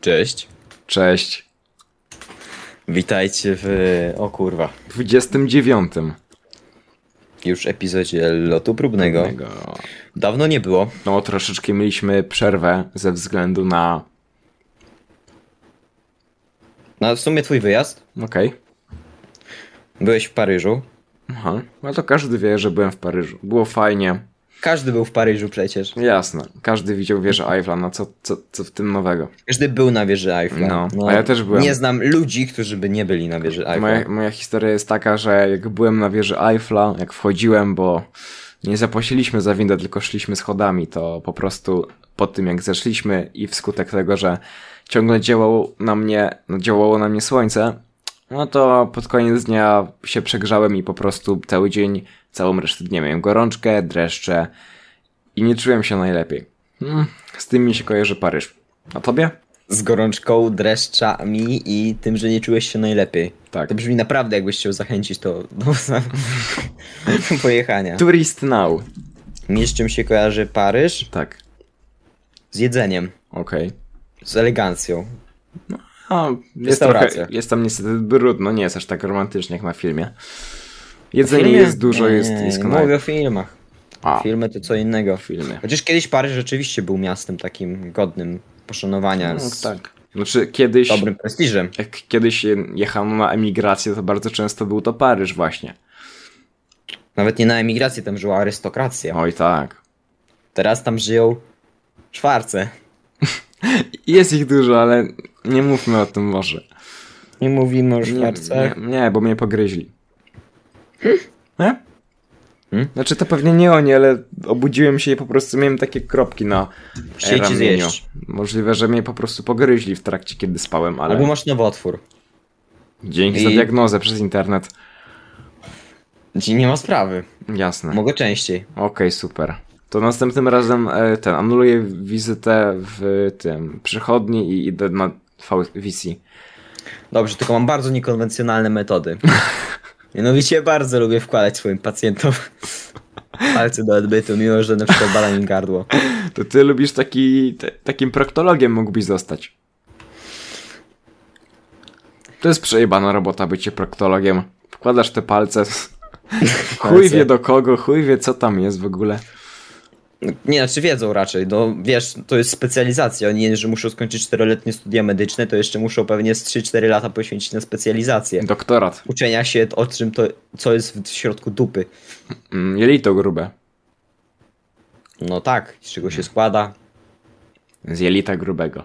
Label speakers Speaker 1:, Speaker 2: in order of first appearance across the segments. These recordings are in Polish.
Speaker 1: Cześć.
Speaker 2: Cześć.
Speaker 1: Witajcie w. O kurwa.
Speaker 2: 29.
Speaker 1: Już epizodzie lotu próbnego.
Speaker 2: Tego.
Speaker 1: Dawno nie było.
Speaker 2: No, troszeczkę mieliśmy przerwę ze względu na.
Speaker 1: No w sumie twój wyjazd.
Speaker 2: Okej.
Speaker 1: Byłeś w Paryżu.
Speaker 2: Aha. No to każdy wie, że byłem w Paryżu. Było fajnie.
Speaker 1: Każdy był w Paryżu przecież.
Speaker 2: Jasne. Każdy widział wieżę Eiffla. No co, co, co w tym nowego?
Speaker 1: Każdy był na wieży Eiffla.
Speaker 2: No, a ja też byłem.
Speaker 1: Nie znam ludzi, którzy by nie byli na wieży Eiffla.
Speaker 2: Moja, moja historia jest taka, że jak byłem na wieży Eiffla, jak wchodziłem, bo nie zapłaciliśmy za windę, tylko szliśmy schodami, to po prostu po tym jak zeszliśmy i wskutek tego, że ciągle działało na mnie, no, działało na mnie słońce, no to pod koniec dnia się przegrzałem i po prostu cały dzień, całą resztę dnia miałem gorączkę, dreszcze i nie czułem się najlepiej. Hmm, z tym mi się kojarzy Paryż. A tobie?
Speaker 1: Z gorączką, dreszczami i tym, że nie czułeś się najlepiej.
Speaker 2: Tak.
Speaker 1: To brzmi naprawdę, jakbyś chciał zachęcić to do pojechania.
Speaker 2: Turist now.
Speaker 1: Mi z czym się kojarzy Paryż?
Speaker 2: Tak,
Speaker 1: Z jedzeniem.
Speaker 2: okej.
Speaker 1: Z elegancją.
Speaker 2: A, jest,
Speaker 1: Restauracja.
Speaker 2: trochę, jest tam niestety brudno, nie jest aż tak romantycznie jak na filmie. Jedzenie jest dużo, jest,
Speaker 1: Nie,
Speaker 2: jest
Speaker 1: nie
Speaker 2: kanał.
Speaker 1: Mówię o filmach.
Speaker 2: A,
Speaker 1: Filmy to co innego.
Speaker 2: filmy.
Speaker 1: Chociaż kiedyś Paryż rzeczywiście był miastem takim godnym poszanowania,
Speaker 2: No,
Speaker 1: z
Speaker 2: tak. Znaczy kiedyś,
Speaker 1: dobrym prestiżem.
Speaker 2: jak kiedyś jechano na emigrację, to bardzo często był to Paryż właśnie.
Speaker 1: Nawet nie na emigracji tam żyła arystokracja.
Speaker 2: Oj tak.
Speaker 1: Teraz tam żyją szwarce.
Speaker 2: Jest ich dużo, ale nie mówmy o tym może.
Speaker 1: Nie mówimy o
Speaker 2: Nie, nie, nie bo mnie pogryźli. Nie?
Speaker 1: Hmm?
Speaker 2: Znaczy to pewnie nie oni, ale obudziłem się i po prostu miałem takie kropki na
Speaker 1: Chcieli ci
Speaker 2: ramieniu.
Speaker 1: zjeść.
Speaker 2: Możliwe, że mnie po prostu pogryźli w trakcie, kiedy spałem, ale
Speaker 1: Albo masz nowotwór.
Speaker 2: dzięki
Speaker 1: I-
Speaker 2: za diagnozę przez internet.
Speaker 1: Ci Znaczy, nie ma sprawy.
Speaker 2: Jasne. Okej,
Speaker 1: Mogę częściej.
Speaker 2: super. To następnym razem e, ten, anuluję wizytę w tym przychodni i idę na VC.
Speaker 1: Dobrze, tylko mam bardzo niekonwencjonalne metody. Mianowicie bardzo lubię wkładać swoim pacjentom palce do odbytu, mimo że na przykład bala mi gardło.
Speaker 2: To ty lubisz taki, te, takim proktologiem mógłbyś zostać. To jest przejebana robota bycie proktologiem. Wkładasz te palce. chuj
Speaker 1: Palce.
Speaker 2: wie do kogo, chuj wie co tam jest w ogóle.
Speaker 1: Nie, znaczy wiedzą raczej, no wiesz, to jest specjalizacja, oni nie, że muszą skończyć czteroletnie studia medyczne, to jeszcze muszą pewnie z 3-4 lata poświęcić na specjalizację.
Speaker 2: Doktorat.
Speaker 1: Uczenia się o czym to, co jest w środku dupy.
Speaker 2: Mm, Jelito grube.
Speaker 1: No tak, z czego się składa.
Speaker 2: Z jelita grubego.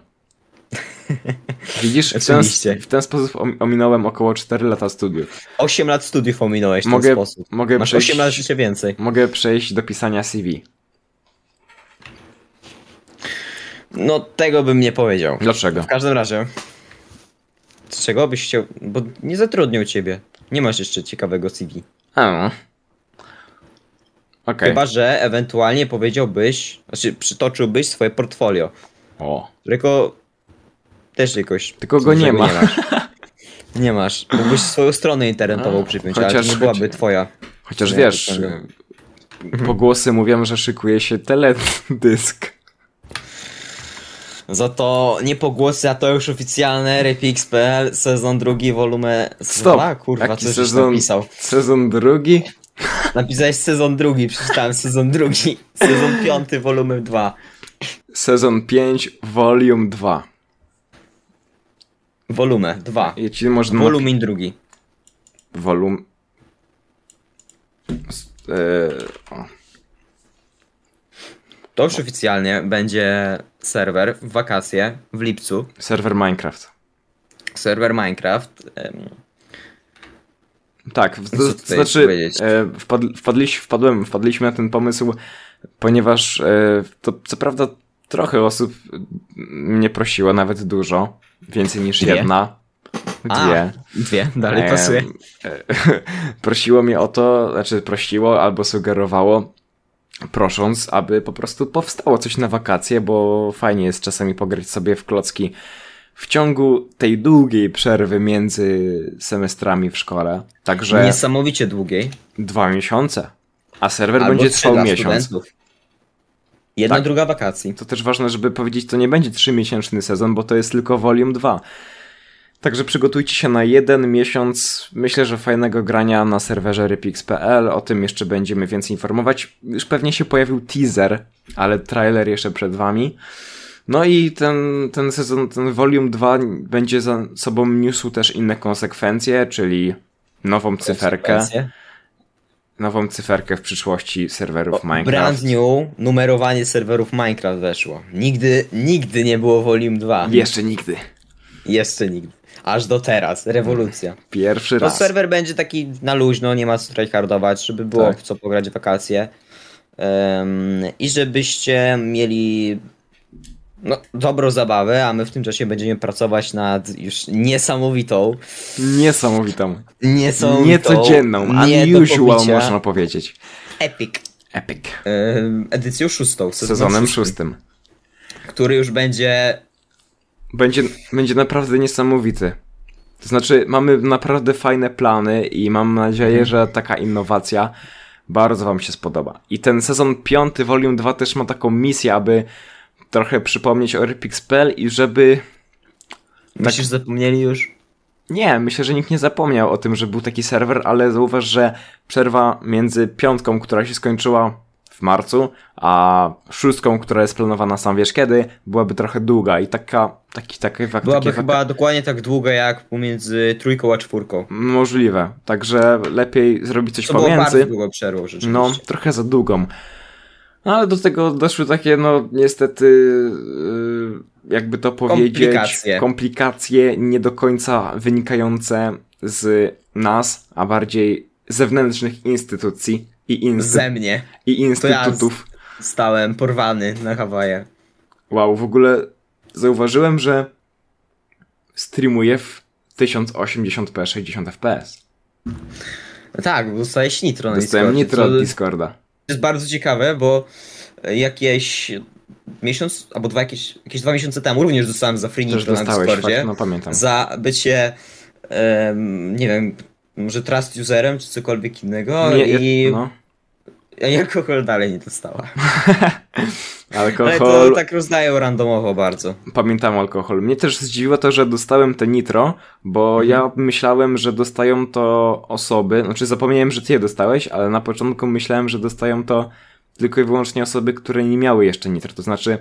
Speaker 2: Widzisz, w ten,
Speaker 1: Oczywiście.
Speaker 2: w ten sposób om- ominąłem około 4 lata studiów.
Speaker 1: 8 lat studiów ominąłeś w
Speaker 2: Mogę-
Speaker 1: ten sposób.
Speaker 2: mogę
Speaker 1: Masz
Speaker 2: przejść-
Speaker 1: 8 lat jeszcze więcej.
Speaker 2: Mogę przejść do pisania CV.
Speaker 1: No tego bym nie powiedział.
Speaker 2: Dlaczego?
Speaker 1: W każdym razie, z czego byś chciał, bo nie zatrudnią ciebie. Nie masz jeszcze ciekawego CV.
Speaker 2: A. no. Okej.
Speaker 1: Chyba, że ewentualnie powiedziałbyś, znaczy przytoczyłbyś swoje portfolio.
Speaker 2: O.
Speaker 1: Tylko też jakoś.
Speaker 2: Tylko go
Speaker 1: którego
Speaker 2: nie ma.
Speaker 1: masz. Nie masz. Mógłbyś swoją stronę internetową
Speaker 2: A,
Speaker 1: przypiąć, ale
Speaker 2: chociaż-
Speaker 1: to nie byłaby twoja.
Speaker 2: Chociaż
Speaker 1: Nie,
Speaker 2: wiesz,
Speaker 1: to
Speaker 2: e, pogłosy mówią, że szykuje się teledysk.
Speaker 1: Za to nie pogłosy, a to już oficjalne Repix.pl, sezon drugi, wolumen...
Speaker 2: Stop!
Speaker 1: A, No tak, kurwa,
Speaker 2: Jaki
Speaker 1: coś sezon... napisał.
Speaker 2: sezon drugi?
Speaker 1: Napisałeś sezon drugi, przeczytałem sezon drugi. Sezon piąty, wolumen 2.
Speaker 2: Sezon 5, volume 2.
Speaker 1: Wolumę 2.
Speaker 2: I ci można...
Speaker 1: Wolumin drugi.
Speaker 2: Volum... S- e, o.
Speaker 1: To już oficjalnie będzie serwer w wakacje w lipcu.
Speaker 2: Serwer Minecraft.
Speaker 1: Serwer Minecraft. em,
Speaker 2: Tak, w,
Speaker 1: Co
Speaker 2: to,
Speaker 1: tutaj
Speaker 2: znaczy
Speaker 1: powiedzieć?
Speaker 2: e, wpadl, wpadliś, wpadłem, wpadliśmy na ten pomysł, ponieważ e, to co prawda trochę osób mnie prosiło, nawet dużo, więcej niż
Speaker 1: Dwie?
Speaker 2: jedna,
Speaker 1: A,
Speaker 2: dwie.
Speaker 1: Dwie, dalej
Speaker 2: Em,
Speaker 1: pasuje.
Speaker 2: e, prosiło mnie o to, znaczy prosiło albo sugerowało, prosząc, aby po prostu powstało coś na wakacje, bo fajnie jest czasami pograć sobie w klocki w ciągu tej długiej przerwy między semestrami w szkole. Także
Speaker 1: Niesamowicie długiej.
Speaker 2: dwa miesiące, a serwer
Speaker 1: Albo
Speaker 2: będzie
Speaker 1: trzy
Speaker 2: trwał
Speaker 1: dla
Speaker 2: miesiąc.
Speaker 1: studentów. Jedna,
Speaker 2: Tak.
Speaker 1: druga wakacji.
Speaker 2: To też ważne, żeby powiedzieć, to nie będzie trzymiesięczny sezon, bo to jest tylko Volume 2. Także przygotujcie się na jeden miesiąc, myślę, że fajnego grania na serwerze rypix.pl. O tym jeszcze będziemy więcej informować. Już pewnie się pojawił teaser, ale trailer jeszcze przed wami. No i ten, ten sezon, ten Volume 2 będzie za sobą niósł też inne konsekwencje, czyli nową cyferkę,
Speaker 1: Konsekwencje.
Speaker 2: nową cyferkę w przyszłości serwerów Minecraft.
Speaker 1: Brand new numerowanie serwerów Minecraft weszło. Nigdy, nigdy nie było Volume 2.
Speaker 2: Jeszcze nigdy.
Speaker 1: Jeszcze nigdy. Aż do teraz. Rewolucja.
Speaker 2: Pierwszy
Speaker 1: No
Speaker 2: raz.
Speaker 1: serwer będzie taki na luźno, nie ma co tryhardować, żeby było
Speaker 2: Tak.
Speaker 1: w co pograć w wakacje. Em, I żebyście mieli no, dobrą zabawę, a my w tym czasie będziemy pracować nad już niesamowitą,
Speaker 2: Niesamowitą.
Speaker 1: niesamowitą,
Speaker 2: Niecodzienną,
Speaker 1: nie do
Speaker 2: unusual
Speaker 1: pobicia,
Speaker 2: można powiedzieć.
Speaker 1: epic
Speaker 2: Epic.
Speaker 1: em, edycją szóstą, sezonem,
Speaker 2: Sezonem
Speaker 1: szóstym,
Speaker 2: szóstym.
Speaker 1: który już będzie
Speaker 2: Będzie, będzie naprawdę niesamowity. To znaczy, mamy naprawdę fajne plany i mam nadzieję, że taka innowacja bardzo wam się spodoba. I ten sezon piąty, Volume 2 też ma taką misję, aby trochę przypomnieć o Rypix.pl i żeby Tak.
Speaker 1: Myślisz, zapomnieli już?
Speaker 2: Nie, myślę, że nikt nie zapomniał o tym, że był taki serwer, ale zauważ, że przerwa między piątką, która się skończyła w marcu, a szóstką, która jest planowana sam wiesz kiedy, byłaby trochę długa i taka, taki, taki, taki,
Speaker 1: Byłaby
Speaker 2: taki
Speaker 1: chyba dokładnie tak długa jak pomiędzy trójką a czwórką.
Speaker 2: możliwe, także lepiej zrobić coś
Speaker 1: To było bardzo
Speaker 2: pomiędzy,
Speaker 1: długo przerwą rzeczywiście.
Speaker 2: no, trochę za długą. No, ale do tego doszły takie, no, niestety, yy, jakby to powiedzieć,
Speaker 1: Komplikacje.
Speaker 2: komplikacje nie do końca wynikające z nas, a bardziej zewnętrznych instytucji i, inst-
Speaker 1: Ze mnie.
Speaker 2: i
Speaker 1: ja z-
Speaker 2: instytutów.
Speaker 1: Stałem porwany na Hawajach.
Speaker 2: Wow, w ogóle zauważyłem, że streamuję w 1080p 60 fps.
Speaker 1: No tak, bo dostałeś nitro na
Speaker 2: Dostałem
Speaker 1: Discordzie,
Speaker 2: nitro
Speaker 1: co
Speaker 2: od Discorda.
Speaker 1: jest bardzo ciekawe, bo jakieś miesiąc albo dwa, jakieś, jakieś dwa miesiące temu również dostałem za free
Speaker 2: Też
Speaker 1: nitro na
Speaker 2: dostałeś,
Speaker 1: Discordzie.
Speaker 2: fakt, no pamiętam.
Speaker 1: Za bycie, em, nie wiem, może trust userem czy cokolwiek innego
Speaker 2: Nie,
Speaker 1: i
Speaker 2: no,
Speaker 1: ja alkohol dalej nie dostała. Ale to
Speaker 2: alkohol,
Speaker 1: tak rozdają randomowo bardzo.
Speaker 2: pamiętam alkohol. Mnie też zdziwiło to, że dostałem te nitro, bo ja myślałem, że dostają to osoby, znaczy zapomniałem, że ty je dostałeś, ale na początku myślałem, że dostają to tylko i wyłącznie osoby, które nie miały jeszcze nitro. To znaczy,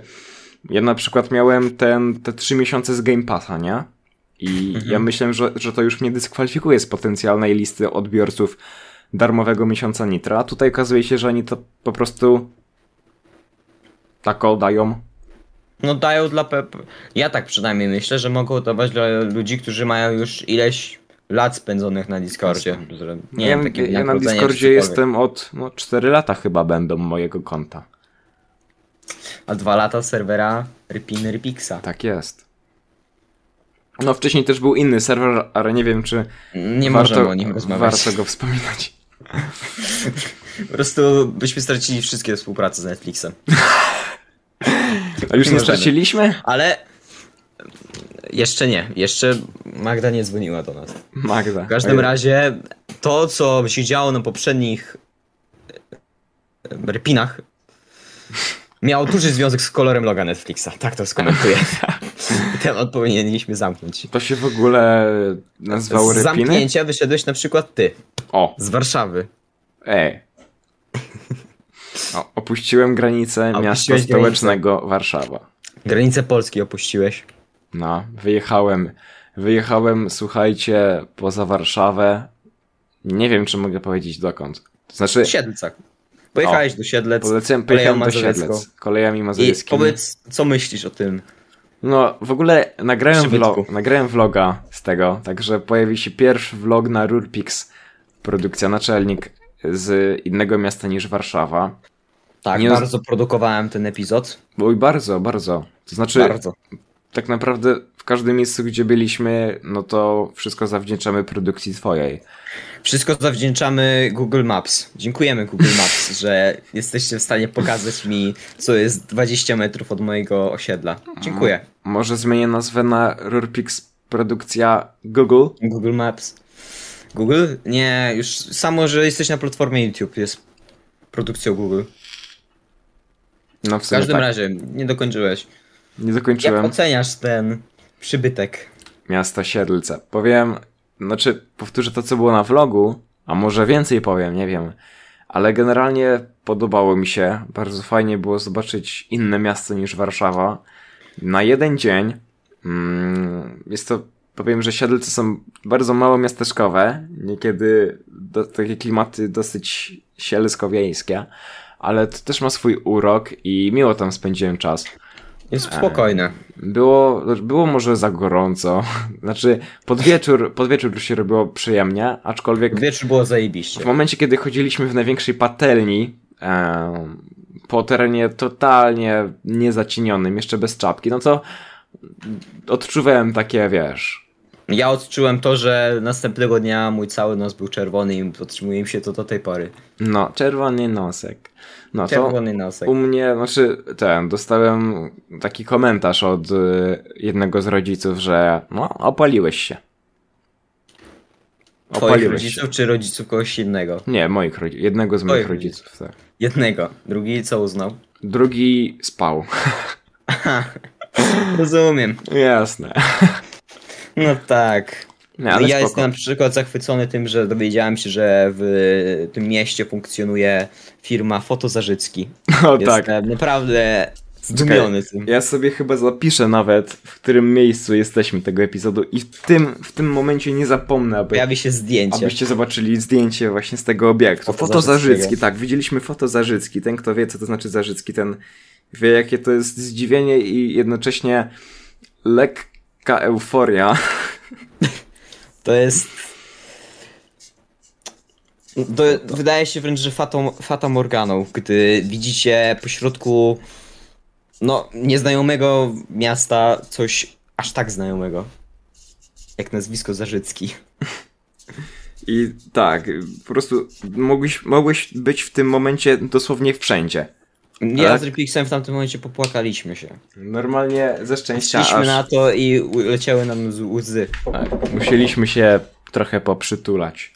Speaker 2: ja na przykład miałem ten, te trzy miesiące z Game Passa, nie? I ja myślałem, że, że to już mnie dyskwalifikuje z potencjalnej listy odbiorców darmowego miesiąca nitra. A tutaj okazuje się, że oni to po prostu tako dają.
Speaker 1: No dają dla pep... Ja tak przynajmniej myślę, że mogą dawać dla ludzi, którzy mają już ileś lat spędzonych na Discordzie. Że- Nie
Speaker 2: ja,
Speaker 1: wiem, takie
Speaker 2: ja na
Speaker 1: wynagrodzenie czy
Speaker 2: Discordzie
Speaker 1: cokolwiek.
Speaker 2: jestem od no, 4 lata chyba będą mojego konta.
Speaker 1: A dwa lata serwera Rypin Rypixa.
Speaker 2: Tak jest. No wcześniej też był inny serwer, ale nie wiem czy
Speaker 1: Nie
Speaker 2: warto,
Speaker 1: możemy o nim rozmawiać.
Speaker 2: warto go wspominać.
Speaker 1: Po prostu byśmy stracili wszystkie współprace z Netflixem.
Speaker 2: A już nie
Speaker 1: możemy.
Speaker 2: straciliśmy?
Speaker 1: Ale jeszcze nie. Jeszcze Magda nie dzwoniła do nas.
Speaker 2: Magda.
Speaker 1: W każdym razie to, co się działo na poprzednich e, e, rypinach, miało duży związek z kolorem loga Netflixa. Tak to skomentuję. Temat powinniśmy zamknąć.
Speaker 2: To się w ogóle nazywało
Speaker 1: Z
Speaker 2: rypiny?
Speaker 1: zamknięcia wyszedłeś na przykład ty,
Speaker 2: O,
Speaker 1: z Warszawy.
Speaker 2: ej. O, opuściłem granicę
Speaker 1: Opuściłeś
Speaker 2: miasta
Speaker 1: granicę.
Speaker 2: stołecznego Warszawa.
Speaker 1: Granice Polski opuściłeś.
Speaker 2: No, wyjechałem. Wyjechałem, słuchajcie, poza Warszawę. Nie wiem, czy mogę powiedzieć dokąd. To znaczy,
Speaker 1: W Siedlcach. Pojechałeś do Siedlec.
Speaker 2: polecam,
Speaker 1: Koleją
Speaker 2: pojechałem do
Speaker 1: Mazowiecką.
Speaker 2: Siedlec kolejami
Speaker 1: I
Speaker 2: mazowieckimi.
Speaker 1: powiedz, co myślisz o tym?
Speaker 2: No, w ogóle nagrałem,
Speaker 1: Przybytku.
Speaker 2: vlog, nagrałem vloga z tego, także pojawi się pierwszy vlog na Rurpix. Produkcja Naczelnik z innego miasta niż Warszawa.
Speaker 1: Tak,
Speaker 2: Nie-
Speaker 1: bardzo produkowałem ten epizod.
Speaker 2: Oj, bardzo, bardzo. To znaczy,
Speaker 1: Bardzo.
Speaker 2: tak naprawdę w każdym miejscu, gdzie byliśmy, no to wszystko zawdzięczamy produkcji twojej.
Speaker 1: Wszystko zawdzięczamy Google Maps. Dziękujemy Google Maps, że jesteście w stanie pokazać mi, co jest 20 metrów od mojego osiedla. Dziękuję.
Speaker 2: Może zmienię nazwę na Rurpix produkcja Google?
Speaker 1: Google Maps. Google? Nie, już samo, że jesteś na platformie YouTube jest produkcją Google.
Speaker 2: No w
Speaker 1: W
Speaker 2: sumie
Speaker 1: każdym
Speaker 2: tak.
Speaker 1: razie, nie dokończyłeś.
Speaker 2: Nie
Speaker 1: Jak
Speaker 2: dokończyłem
Speaker 1: oceniasz ten przybytek?
Speaker 2: miasta Siedlce. Powiem, znaczy powtórzę to, co było na vlogu, a może więcej powiem, nie wiem. Ale generalnie podobało mi się. Bardzo fajnie było zobaczyć inne miasto niż Warszawa. Na jeden dzień mm, jest to, powiem, że Siedlce są bardzo mało miasteczkowe. Niekiedy do, takie klimaty dosyć sielsko-wiejskie. Ale to też ma swój urok i miło tam spędziłem czas.
Speaker 1: Jest
Speaker 2: E,
Speaker 1: spokojne.
Speaker 2: Było, znaczy, było może za gorąco. Znaczy, pod wieczór, pod wieczór już się robiło przyjemnie, aczkolwiek
Speaker 1: Wieczór było
Speaker 2: w
Speaker 1: zajebiście.
Speaker 2: momencie, kiedy chodziliśmy w największej patelni, em, po terenie totalnie niezacienionym, jeszcze bez czapki, no to odczuwałem takie, wiesz,
Speaker 1: Ja odczułem to, że następnego dnia mój cały nos był czerwony i podtrzymuje mi się to do tej pory.
Speaker 2: no, czerwony nosek. No to
Speaker 1: Czerwony nosek.
Speaker 2: u mnie, znaczy, ten, dostałem taki komentarz od y, jednego z rodziców, że no, opaliłeś się.
Speaker 1: Twoich
Speaker 2: opaliłeś się.
Speaker 1: rodziców czy rodziców kogoś innego?
Speaker 2: Nie, moich rodziców. Jednego z moich
Speaker 1: Twoich
Speaker 2: rodziców, tak.
Speaker 1: Jednego. Drugi co uznał?
Speaker 2: Drugi spał.
Speaker 1: Rozumiem.
Speaker 2: Jasne.
Speaker 1: No tak.
Speaker 2: Nie,
Speaker 1: ja
Speaker 2: ale spoko.
Speaker 1: jestem na przykład zachwycony tym, że dowiedziałem się, że w tym mieście funkcjonuje firma Fotozażycki.
Speaker 2: O tak.
Speaker 1: Jestem naprawdę zdumiony tym.
Speaker 2: Ja sobie chyba zapiszę nawet, w którym miejscu jesteśmy tego epizodu i w tym, w tym momencie nie zapomnę, aby,
Speaker 1: Pojawi się zdjęcie.
Speaker 2: abyście zobaczyli zdjęcie właśnie z tego obiektu.
Speaker 1: Foto
Speaker 2: Foto Zarzycki,
Speaker 1: Zarzyckiego.
Speaker 2: tak. Widzieliśmy foto Zarzycki. Ten, kto wie, co to znaczy Zarzycki, ten wie, jakie to jest zdziwienie i jednocześnie lekka euforia.
Speaker 1: To jest. To, wydaje się wręcz, że fatą, fata Morganą, gdy widzicie pośrodku no, nieznajomego miasta coś aż tak znajomego. Jak nazwisko Zarzycki.
Speaker 2: I tak, po prostu mogłeś, mogłeś być w tym momencie dosłownie wszędzie.
Speaker 1: Ja
Speaker 2: Tak?
Speaker 1: z Rypiksem w tamtym momencie popłakaliśmy się.
Speaker 2: Normalnie ze szczęścia
Speaker 1: Szliśmy
Speaker 2: aż,
Speaker 1: na to i u- leciały nam z łzy.
Speaker 2: tak, musieliśmy się trochę poprzytulać.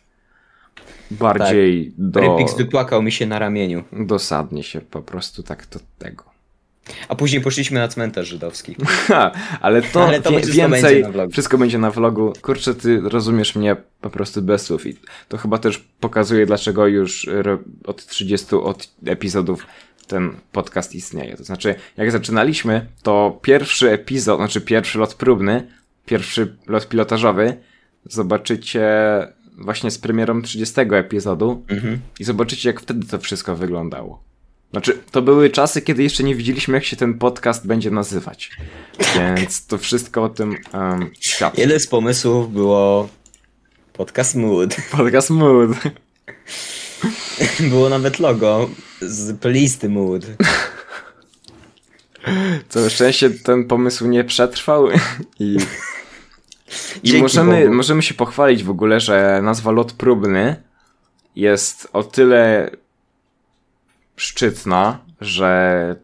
Speaker 2: Tak. Bardziej do,
Speaker 1: Rypiks wypłakał mi się na ramieniu.
Speaker 2: dosadnie się po prostu tak do tego.
Speaker 1: A później poszliśmy na cmentarz żydowski.
Speaker 2: Ha, ale to,
Speaker 1: Ale to
Speaker 2: wie,
Speaker 1: wszystko
Speaker 2: więcej,
Speaker 1: będzie na vlogu.
Speaker 2: wszystko będzie na vlogu. Kurczę, ty rozumiesz mnie po prostu bez słów i to chyba też pokazuje, dlaczego już ro- od 30 od epizodów ten podcast istnieje. To znaczy, jak zaczynaliśmy, to pierwszy epizod, znaczy pierwszy lot próbny, pierwszy lot pilotażowy zobaczycie właśnie z premierą 30 epizodu
Speaker 1: Mhm.
Speaker 2: i zobaczycie, jak wtedy to wszystko wyglądało. Znaczy, to były czasy, kiedy jeszcze nie widzieliśmy, jak się ten podcast będzie nazywać. Więc to wszystko o tym um, świadczy.
Speaker 1: Wiele z pomysłów było podcast Mood.
Speaker 2: Podcast Mood.
Speaker 1: Było nawet logo z playlisty Mood.
Speaker 2: Całe szczęście ten pomysł nie przetrwał i... I
Speaker 1: Dzięki
Speaker 2: możemy,
Speaker 1: Bogu.
Speaker 2: możemy się pochwalić w ogóle, że nazwa Lot Próbny jest o tyle szczytna, że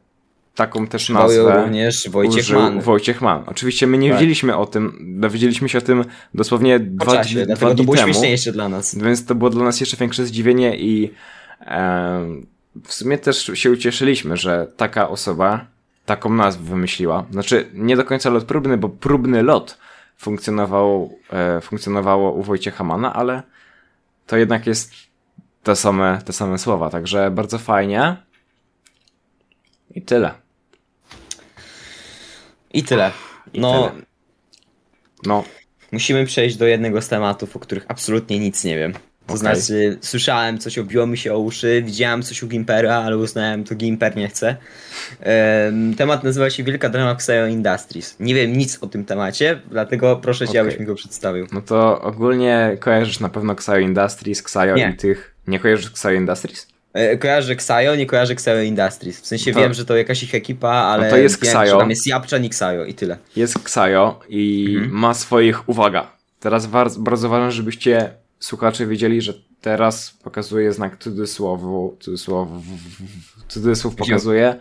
Speaker 2: taką też
Speaker 1: Bał ją
Speaker 2: nazwę...
Speaker 1: również Wojciech
Speaker 2: użył
Speaker 1: Mann.
Speaker 2: Wojciech Mann. Oczywiście my nie
Speaker 1: Tak.
Speaker 2: wiedzieliśmy o tym, dowiedzieliśmy się o tym dosłownie
Speaker 1: Po
Speaker 2: dwa,
Speaker 1: czasie,
Speaker 2: dni-
Speaker 1: dlatego
Speaker 2: dwa
Speaker 1: to
Speaker 2: dni
Speaker 1: było
Speaker 2: temu,
Speaker 1: śmieszniejsze dla nas.
Speaker 2: więc to było dla nas jeszcze większe zdziwienie i em, w sumie też się ucieszyliśmy, że taka osoba taką nazwę wymyśliła. Znaczy nie do końca lot próbny, bo próbny lot funkcjonował, e, funkcjonowało u Wojciecha Mana, ale to jednak jest te same, te same słowa, także bardzo fajnie i tyle.
Speaker 1: I tyle.
Speaker 2: I
Speaker 1: No,
Speaker 2: tyle. No,
Speaker 1: musimy przejść do jednego z tematów, o których absolutnie nic nie wiem. To
Speaker 2: Okej.
Speaker 1: znaczy, słyszałem coś, obiło mi się o uszy, widziałem coś u Gimpera, ale uznałem, to Gimper nie chce. Em, temat nazywa się Wielka Drama Xeo Industries. Nie wiem nic o tym temacie, dlatego proszę cię,
Speaker 2: Okej.
Speaker 1: abyś mi go przedstawił.
Speaker 2: No to ogólnie kojarzysz na pewno Xayo Industries, Xayo
Speaker 1: Nie.
Speaker 2: i tych... Nie kojarzysz Xayo Industries?
Speaker 1: E, Kojarzę Xayo, nie kojarzę Xayo Industries. W sensie
Speaker 2: No To- no
Speaker 1: wiem, że to jakaś ich ekipa, ale
Speaker 2: to jest
Speaker 1: wiem,
Speaker 2: Xayo.
Speaker 1: że tam jest Japczan i Xayo i tyle.
Speaker 2: Jest Xayo i
Speaker 1: Mhm.
Speaker 2: ma swoich... Uwaga! Teraz bardzo, bardzo ważne, żebyście słuchacze wiedzieli, że teraz pokazuje znak cudzysłowu, cudzysłowu, cudzysłów
Speaker 1: Gdzie?
Speaker 2: pokazuje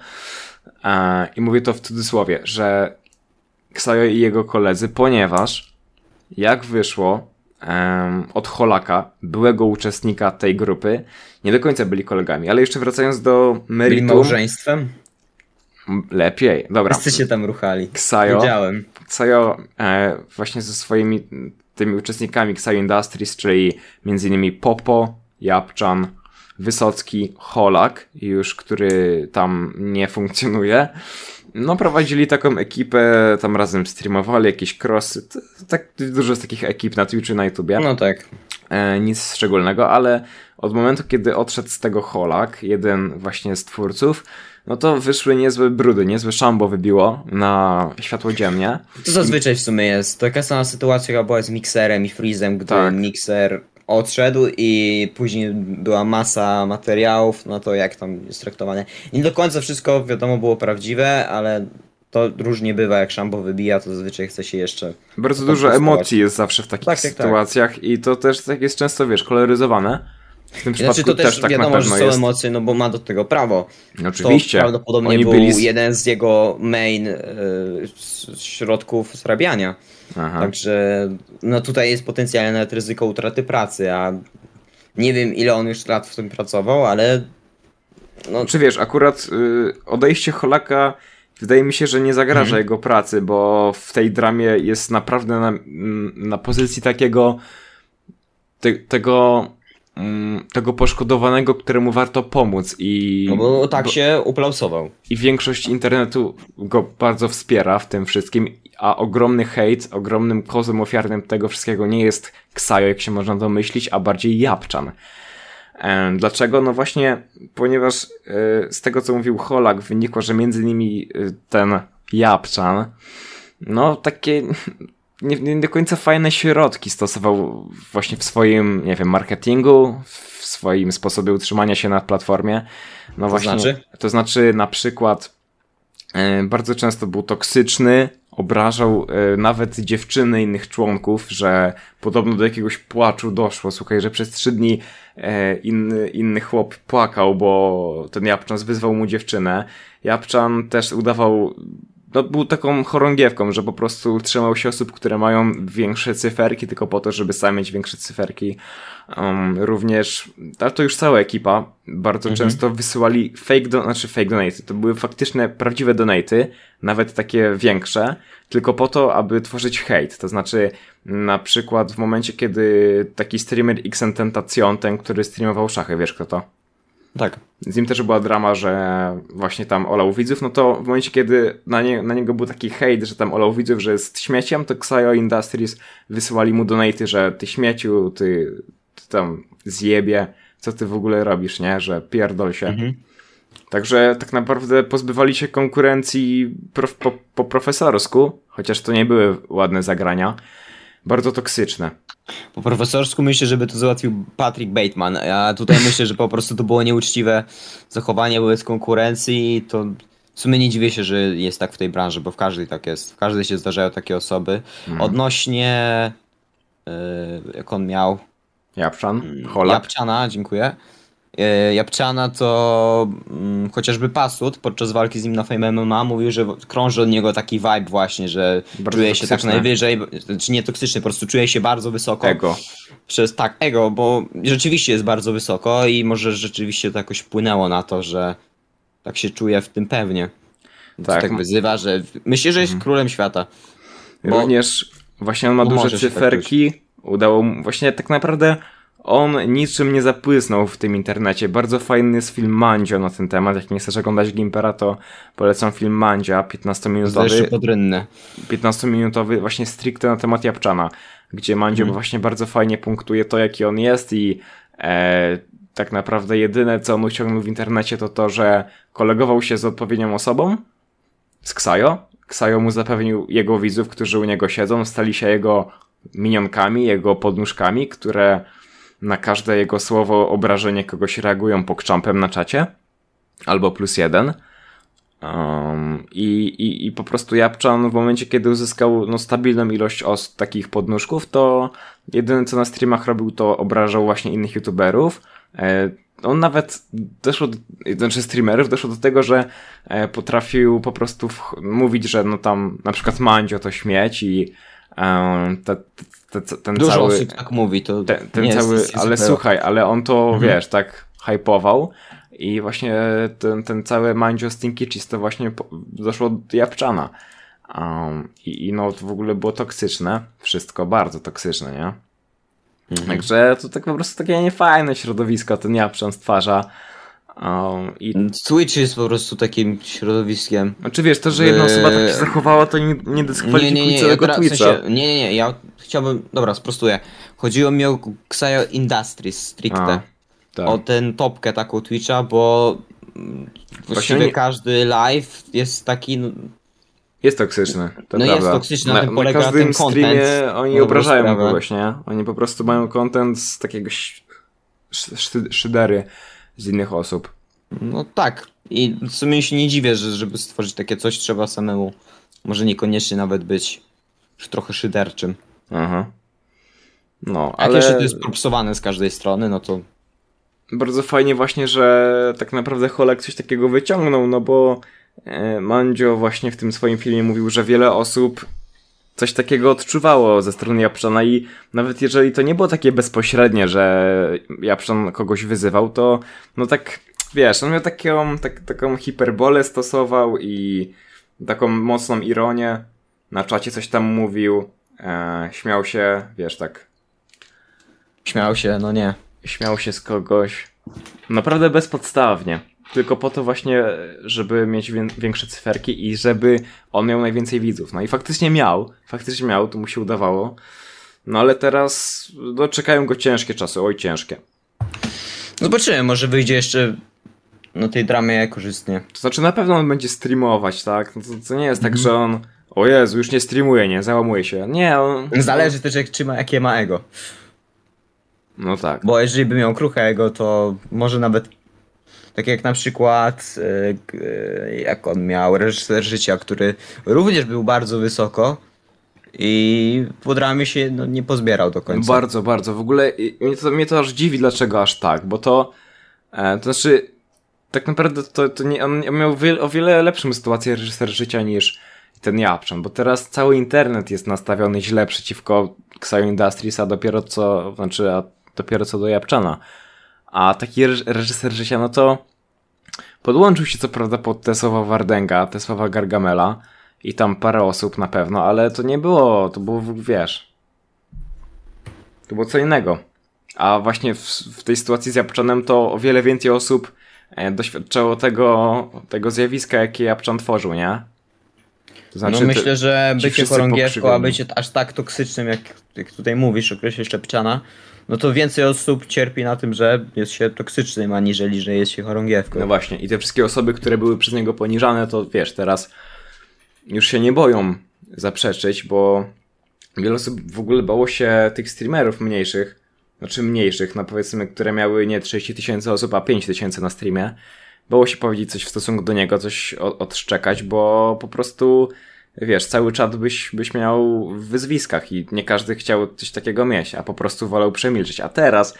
Speaker 2: e, i mówię to w cudzysłowie, że Xayo i jego koledzy, ponieważ jak wyszło em, od Holaka, byłego uczestnika tej grupy, nie do końca byli kolegami, ale jeszcze wracając do
Speaker 1: Byli
Speaker 2: meritum,
Speaker 1: małżeństwem?
Speaker 2: Lepiej, dobra.
Speaker 1: Wszyscy się tam ruchali.
Speaker 2: Ksajo.
Speaker 1: Wiedziałem.
Speaker 2: Ksajo e, właśnie ze swoimi tymi uczestnikami Ksajo Industries, czyli m.in. Popo, Japczan, Wysocki, Holak, już który tam nie funkcjonuje. No, prowadzili taką ekipę, tam razem streamowali jakieś crossy. t- Tak dużo z takich ekip na Twitchu, na YouTubie.
Speaker 1: No tak.
Speaker 2: E, nic szczególnego, ale od momentu, kiedy odszedł z tego Holak, jeden właśnie z twórców, no to wyszły niezłe brudy, niezłe szambo wybiło na światło dziennie.
Speaker 1: To zazwyczaj w sumie jest. Taka sama sytuacja jaka była z Mixerem i Freezem, gdy
Speaker 2: Tak.
Speaker 1: Mixer odszedł i później była masa materiałów na to, jak tam jest traktowane. Nie do końca wszystko, wiadomo, było prawdziwe, ale to różnie bywa. Jak szambo wybija, to zazwyczaj chce się jeszcze...
Speaker 2: Bardzo
Speaker 1: To tak
Speaker 2: dużo
Speaker 1: jest
Speaker 2: emocji jest zawsze w takich
Speaker 1: Tak, tak, tak.
Speaker 2: sytuacjach i to też tak jest często, wiesz, koloryzowane. W tym przypadku
Speaker 1: Znaczy, to też,
Speaker 2: tak na
Speaker 1: wiadomo, że
Speaker 2: pewno
Speaker 1: są
Speaker 2: jest.
Speaker 1: emocje, no bo ma do tego prawo.
Speaker 2: Oczywiście.
Speaker 1: To prawdopodobnie
Speaker 2: Oni
Speaker 1: był
Speaker 2: byli z-
Speaker 1: jeden z jego main y, s- środków zarabiania.
Speaker 2: Aha.
Speaker 1: tak. Także no tutaj jest potencjalnie nawet ryzyko utraty pracy, a nie wiem ile on już lat w tym pracował, ale no,
Speaker 2: Czy Znaczy, wiesz, akurat y, odejście Holaka wydaje mi się, że nie zagraża
Speaker 1: Mhm.
Speaker 2: jego pracy, bo w tej dramie jest naprawdę na, mm, na pozycji takiego te, tego mm, tego poszkodowanego, któremu warto pomóc i,
Speaker 1: no bo tak
Speaker 2: bo-
Speaker 1: się uplausował.
Speaker 2: i większość internetu go bardzo wspiera w tym wszystkim, a ogromny hejt, ogromnym kozłem ofiarnym tego wszystkiego nie jest Ksajo, jak się można domyślić, a bardziej Japczan. E, Dlaczego? No właśnie, ponieważ e, z tego co mówił Holak wynikło, że między nimi e, ten Japczan, no takie nie, nie do końca fajne środki stosował właśnie w swoim, nie wiem, marketingu, w swoim sposobie utrzymania się na platformie. No
Speaker 1: To
Speaker 2: właśnie,
Speaker 1: znaczy?
Speaker 2: to znaczy na przykład e, bardzo często był toksyczny, obrażał e, nawet dziewczyny innych członków, że podobno do jakiegoś płaczu doszło. Słuchaj, że przez trzy dni e, inny, inny chłop płakał, bo ten Japczan wyzwał mu dziewczynę. Japczan też udawał, no był taką chorągiewką, że po prostu trzymał się osób, które mają większe cyferki, tylko po to, żeby sam mieć większe cyferki. Um, również, ale to już cała ekipa, bardzo
Speaker 1: Mhm.
Speaker 2: często wysyłali fake, do, znaczy fake donaty, to były faktyczne, prawdziwe donaty, nawet takie większe, tylko po to, aby tworzyć hejt, to znaczy na przykład w momencie, kiedy taki streamer Xententacion, ten, który streamował szachy, wiesz kto to?
Speaker 1: Tak.
Speaker 2: z nim też była drama, że właśnie tam olał widzów, no to w momencie, kiedy na, nie, na niego był taki hejt, że tam olał widzów, że jest śmieciem, to Xayo Industries wysyłali mu donaty, że ty śmieciu, ty, ty tam zjebie, co ty w ogóle robisz, nie? Że pierdol się.
Speaker 1: Mhm.
Speaker 2: Także tak naprawdę pozbywali się konkurencji prof, po, po profesorsku, chociaż to nie były ładne zagrania. Bardzo toksyczne.
Speaker 1: Po profesorsku myślę, żeby to załatwił Patrick Bateman, a tutaj myślę, że po prostu to było nieuczciwe zachowanie wobec konkurencji i to w sumie nie dziwię się, że jest tak w tej branży, bo w każdej tak jest, w każdej się zdarzają takie osoby.
Speaker 2: Mhm. Mm.
Speaker 1: Odnośnie, y, jak on miał, Mm.
Speaker 2: Japszan, Holak.
Speaker 1: Japczana, dziękuję. E, Japczana to mm, chociażby Pasut podczas walki z nim na Fame MMA mówił, że w- krąży od niego taki vibe właśnie, że
Speaker 2: Bardzo
Speaker 1: czuje się tak
Speaker 2: toksyczny.
Speaker 1: najwyżej, czy nie toksyczny, po prostu czuje się bardzo wysoko.
Speaker 2: Ego.
Speaker 1: Przez tak, ego, bo rzeczywiście jest bardzo wysoko i może rzeczywiście to jakoś wpłynęło na to, że tak się czuje w tym pewnie.
Speaker 2: Tak. Mhm.
Speaker 1: Tak, tak wyzywa, że w- myśli, że jest królem świata. Bo-
Speaker 2: Również właśnie on ma
Speaker 1: Bo
Speaker 2: duże
Speaker 1: może się tak
Speaker 2: cyferki. udało mu właśnie tak naprawdę on niczym nie zapłysnął w tym internecie. Bardzo fajny jest film Mandzio na ten temat. Jak nie chcesz oglądać Gimpera, to polecam film Mandzia,
Speaker 1: To jeszcze
Speaker 2: 15-minutowy,
Speaker 1: podrynne.
Speaker 2: 15-minutowy właśnie stricte na temat Japczana, gdzie Mandzio właśnie bardzo fajnie punktuje to, jaki on jest i e, tak naprawdę jedyne, co on uciągnął w internecie, to to, że kolegował się z odpowiednią osobą, z Ksajo. Ksajo mu zapewnił jego widzów, którzy u niego siedzą, stali się jego minionkami, jego podnóżkami, które na każde jego słowo obrażenie kogoś reagują pokczampem na czacie, albo plus jeden. Um, i, i, I po prostu Japczan w momencie, kiedy uzyskał no, stabilną ilość os takich podnóżków, to jedyne co na streamach robił, to obrażał właśnie innych youtuberów. E, on nawet doszło, do, znaczy streamerów, doszło do tego, że e, potrafił po prostu wch- mówić, że no tam na przykład Mandzio to śmieć i e, te, te, te, ten
Speaker 1: Dużo
Speaker 2: cały...
Speaker 1: osób tak mówi, to
Speaker 2: Ten, ten
Speaker 1: nie jest
Speaker 2: cały,
Speaker 1: nic
Speaker 2: ale
Speaker 1: niezwykłego.
Speaker 2: słuchaj, ale on to,
Speaker 1: Mhm.
Speaker 2: wiesz, tak hypował. I właśnie ten, ten cały Manjo Stinkichis to właśnie po- doszło od Japczana. Um, i, I no to w ogóle było toksyczne. Wszystko bardzo toksyczne, nie?
Speaker 1: Mhm.
Speaker 2: Także to tak po prostu takie niefajne środowisko ten Japczan stwarza. Um, i
Speaker 1: Twitch jest po prostu takim środowiskiem.
Speaker 2: Znaczy wiesz, to, że jedna
Speaker 1: Eee,
Speaker 2: osoba tak się zachowała, to nie, nie dyskwalifikuje całego
Speaker 1: gra- w
Speaker 2: Twitcha.
Speaker 1: sensie- nie, nie, nie, ja chciałbym, dobra, sprostuję. Chodziło mi o Xayo Industries stricte.
Speaker 2: tak.
Speaker 1: O ten topkę taką Twitcha, bo mm, właściwie
Speaker 2: nie-
Speaker 1: każdy live jest taki, no,
Speaker 2: Jest toksyczny, to
Speaker 1: No jest
Speaker 2: prawda.
Speaker 1: toksyczny, na tym polega
Speaker 2: każdym
Speaker 1: ten content.
Speaker 2: streamie oni
Speaker 1: Dobrą
Speaker 2: obrażają
Speaker 1: sprawę.
Speaker 2: kogoś, nie? Oni po prostu mają content z takiego ś- sz- szy- szydery z innych osób.
Speaker 1: no tak. I w sumie się nie dziwię, że żeby stworzyć takie coś trzeba samemu. Może niekoniecznie nawet być trochę szyderczym.
Speaker 2: Aha. No,
Speaker 1: Ale... Jak jeszcze
Speaker 2: ale
Speaker 1: to jest propsowane z każdej strony, no to
Speaker 2: bardzo fajnie właśnie, że tak naprawdę Holek coś takiego wyciągnął, no bo e, Mandzio właśnie w tym swoim filmie mówił, że wiele osób coś takiego odczuwało ze strony Japczana i nawet jeżeli to nie było takie bezpośrednie, że Japczan kogoś wyzywał, to no tak, wiesz, on miał taką, tak, taką hiperbolę stosował i taką mocną ironię, na czacie coś tam mówił, e, śmiał się, wiesz, tak
Speaker 1: śmiał się, no nie.
Speaker 2: śmiał się z kogoś. Naprawdę bezpodstawnie. Tylko po to właśnie, żeby mieć wię- większe cyferki i żeby on miał najwięcej widzów. No i faktycznie miał, faktycznie miał, to mu się udawało. No ale teraz no, czekają go ciężkie czasy, oj ciężkie.
Speaker 1: Zobaczymy, może wyjdzie jeszcze na tej dramie korzystnie.
Speaker 2: To znaczy na pewno on będzie streamować, tak? No, to, to nie jest tak, że on o Jezu, już nie streamuje, nie, załamuje się. Nie, on...
Speaker 1: Zależy też jak, czy ma, jakie ma ego.
Speaker 2: No tak.
Speaker 1: Bo jeżeli by miał kruche ego, to może nawet tak jak na przykład e, k- e, jak on miał reżyser życia, który również był bardzo wysoko i po dramie się no, nie pozbierał do końca.
Speaker 2: Bardzo, bardzo. W ogóle i- mnie to, mnie to aż dziwi, dlaczego aż tak, bo to, e, to znaczy, tak naprawdę to, to nie, on miał wie, o wiele lepszą sytuację reżyser życia niż ten Japczan, bo teraz cały internet jest nastawiony źle przeciwko Xayo Industries, a dopiero co, znaczy, a dopiero co do Japczana. A taki reż- reżyser życia, no to podłączył się co prawda pod te słowa Wardęga, te słowa Gargamela i tam parę osób na pewno, ale to nie było, to było, wiesz, to było co innego. A właśnie w, w tej sytuacji z Japczanem to o wiele więcej osób e, doświadczało tego, tego zjawiska, jakie Japczan tworzył, nie? To znaczy,
Speaker 1: no
Speaker 2: te-
Speaker 1: myślę, że
Speaker 2: ci
Speaker 1: bycie
Speaker 2: wszyscy
Speaker 1: chorągiewką, a
Speaker 2: pokrzywieni.
Speaker 1: bycie aż tak toksycznym, jak, jak tutaj mówisz, określisz Lepczana, no to więcej osób cierpi na tym, że jest się toksycznym, aniżeli, że jest się chorągiewką.
Speaker 2: No właśnie, i te wszystkie osoby, które były przez niego poniżane, to wiesz, teraz już się nie boją zaprzeczyć, bo wiele osób w ogóle bało się tych streamerów mniejszych, znaczy mniejszych, no powiedzmy, które miały nie 30 tysięcy osób, a 5 tysięcy na streamie. Bało się powiedzieć coś w stosunku do niego, coś o- odszczekać, bo po prostu, wiesz, cały czat byś, byś miał w wyzwiskach i nie każdy chciał coś takiego mieć, a po prostu wolał przemilczeć. A teraz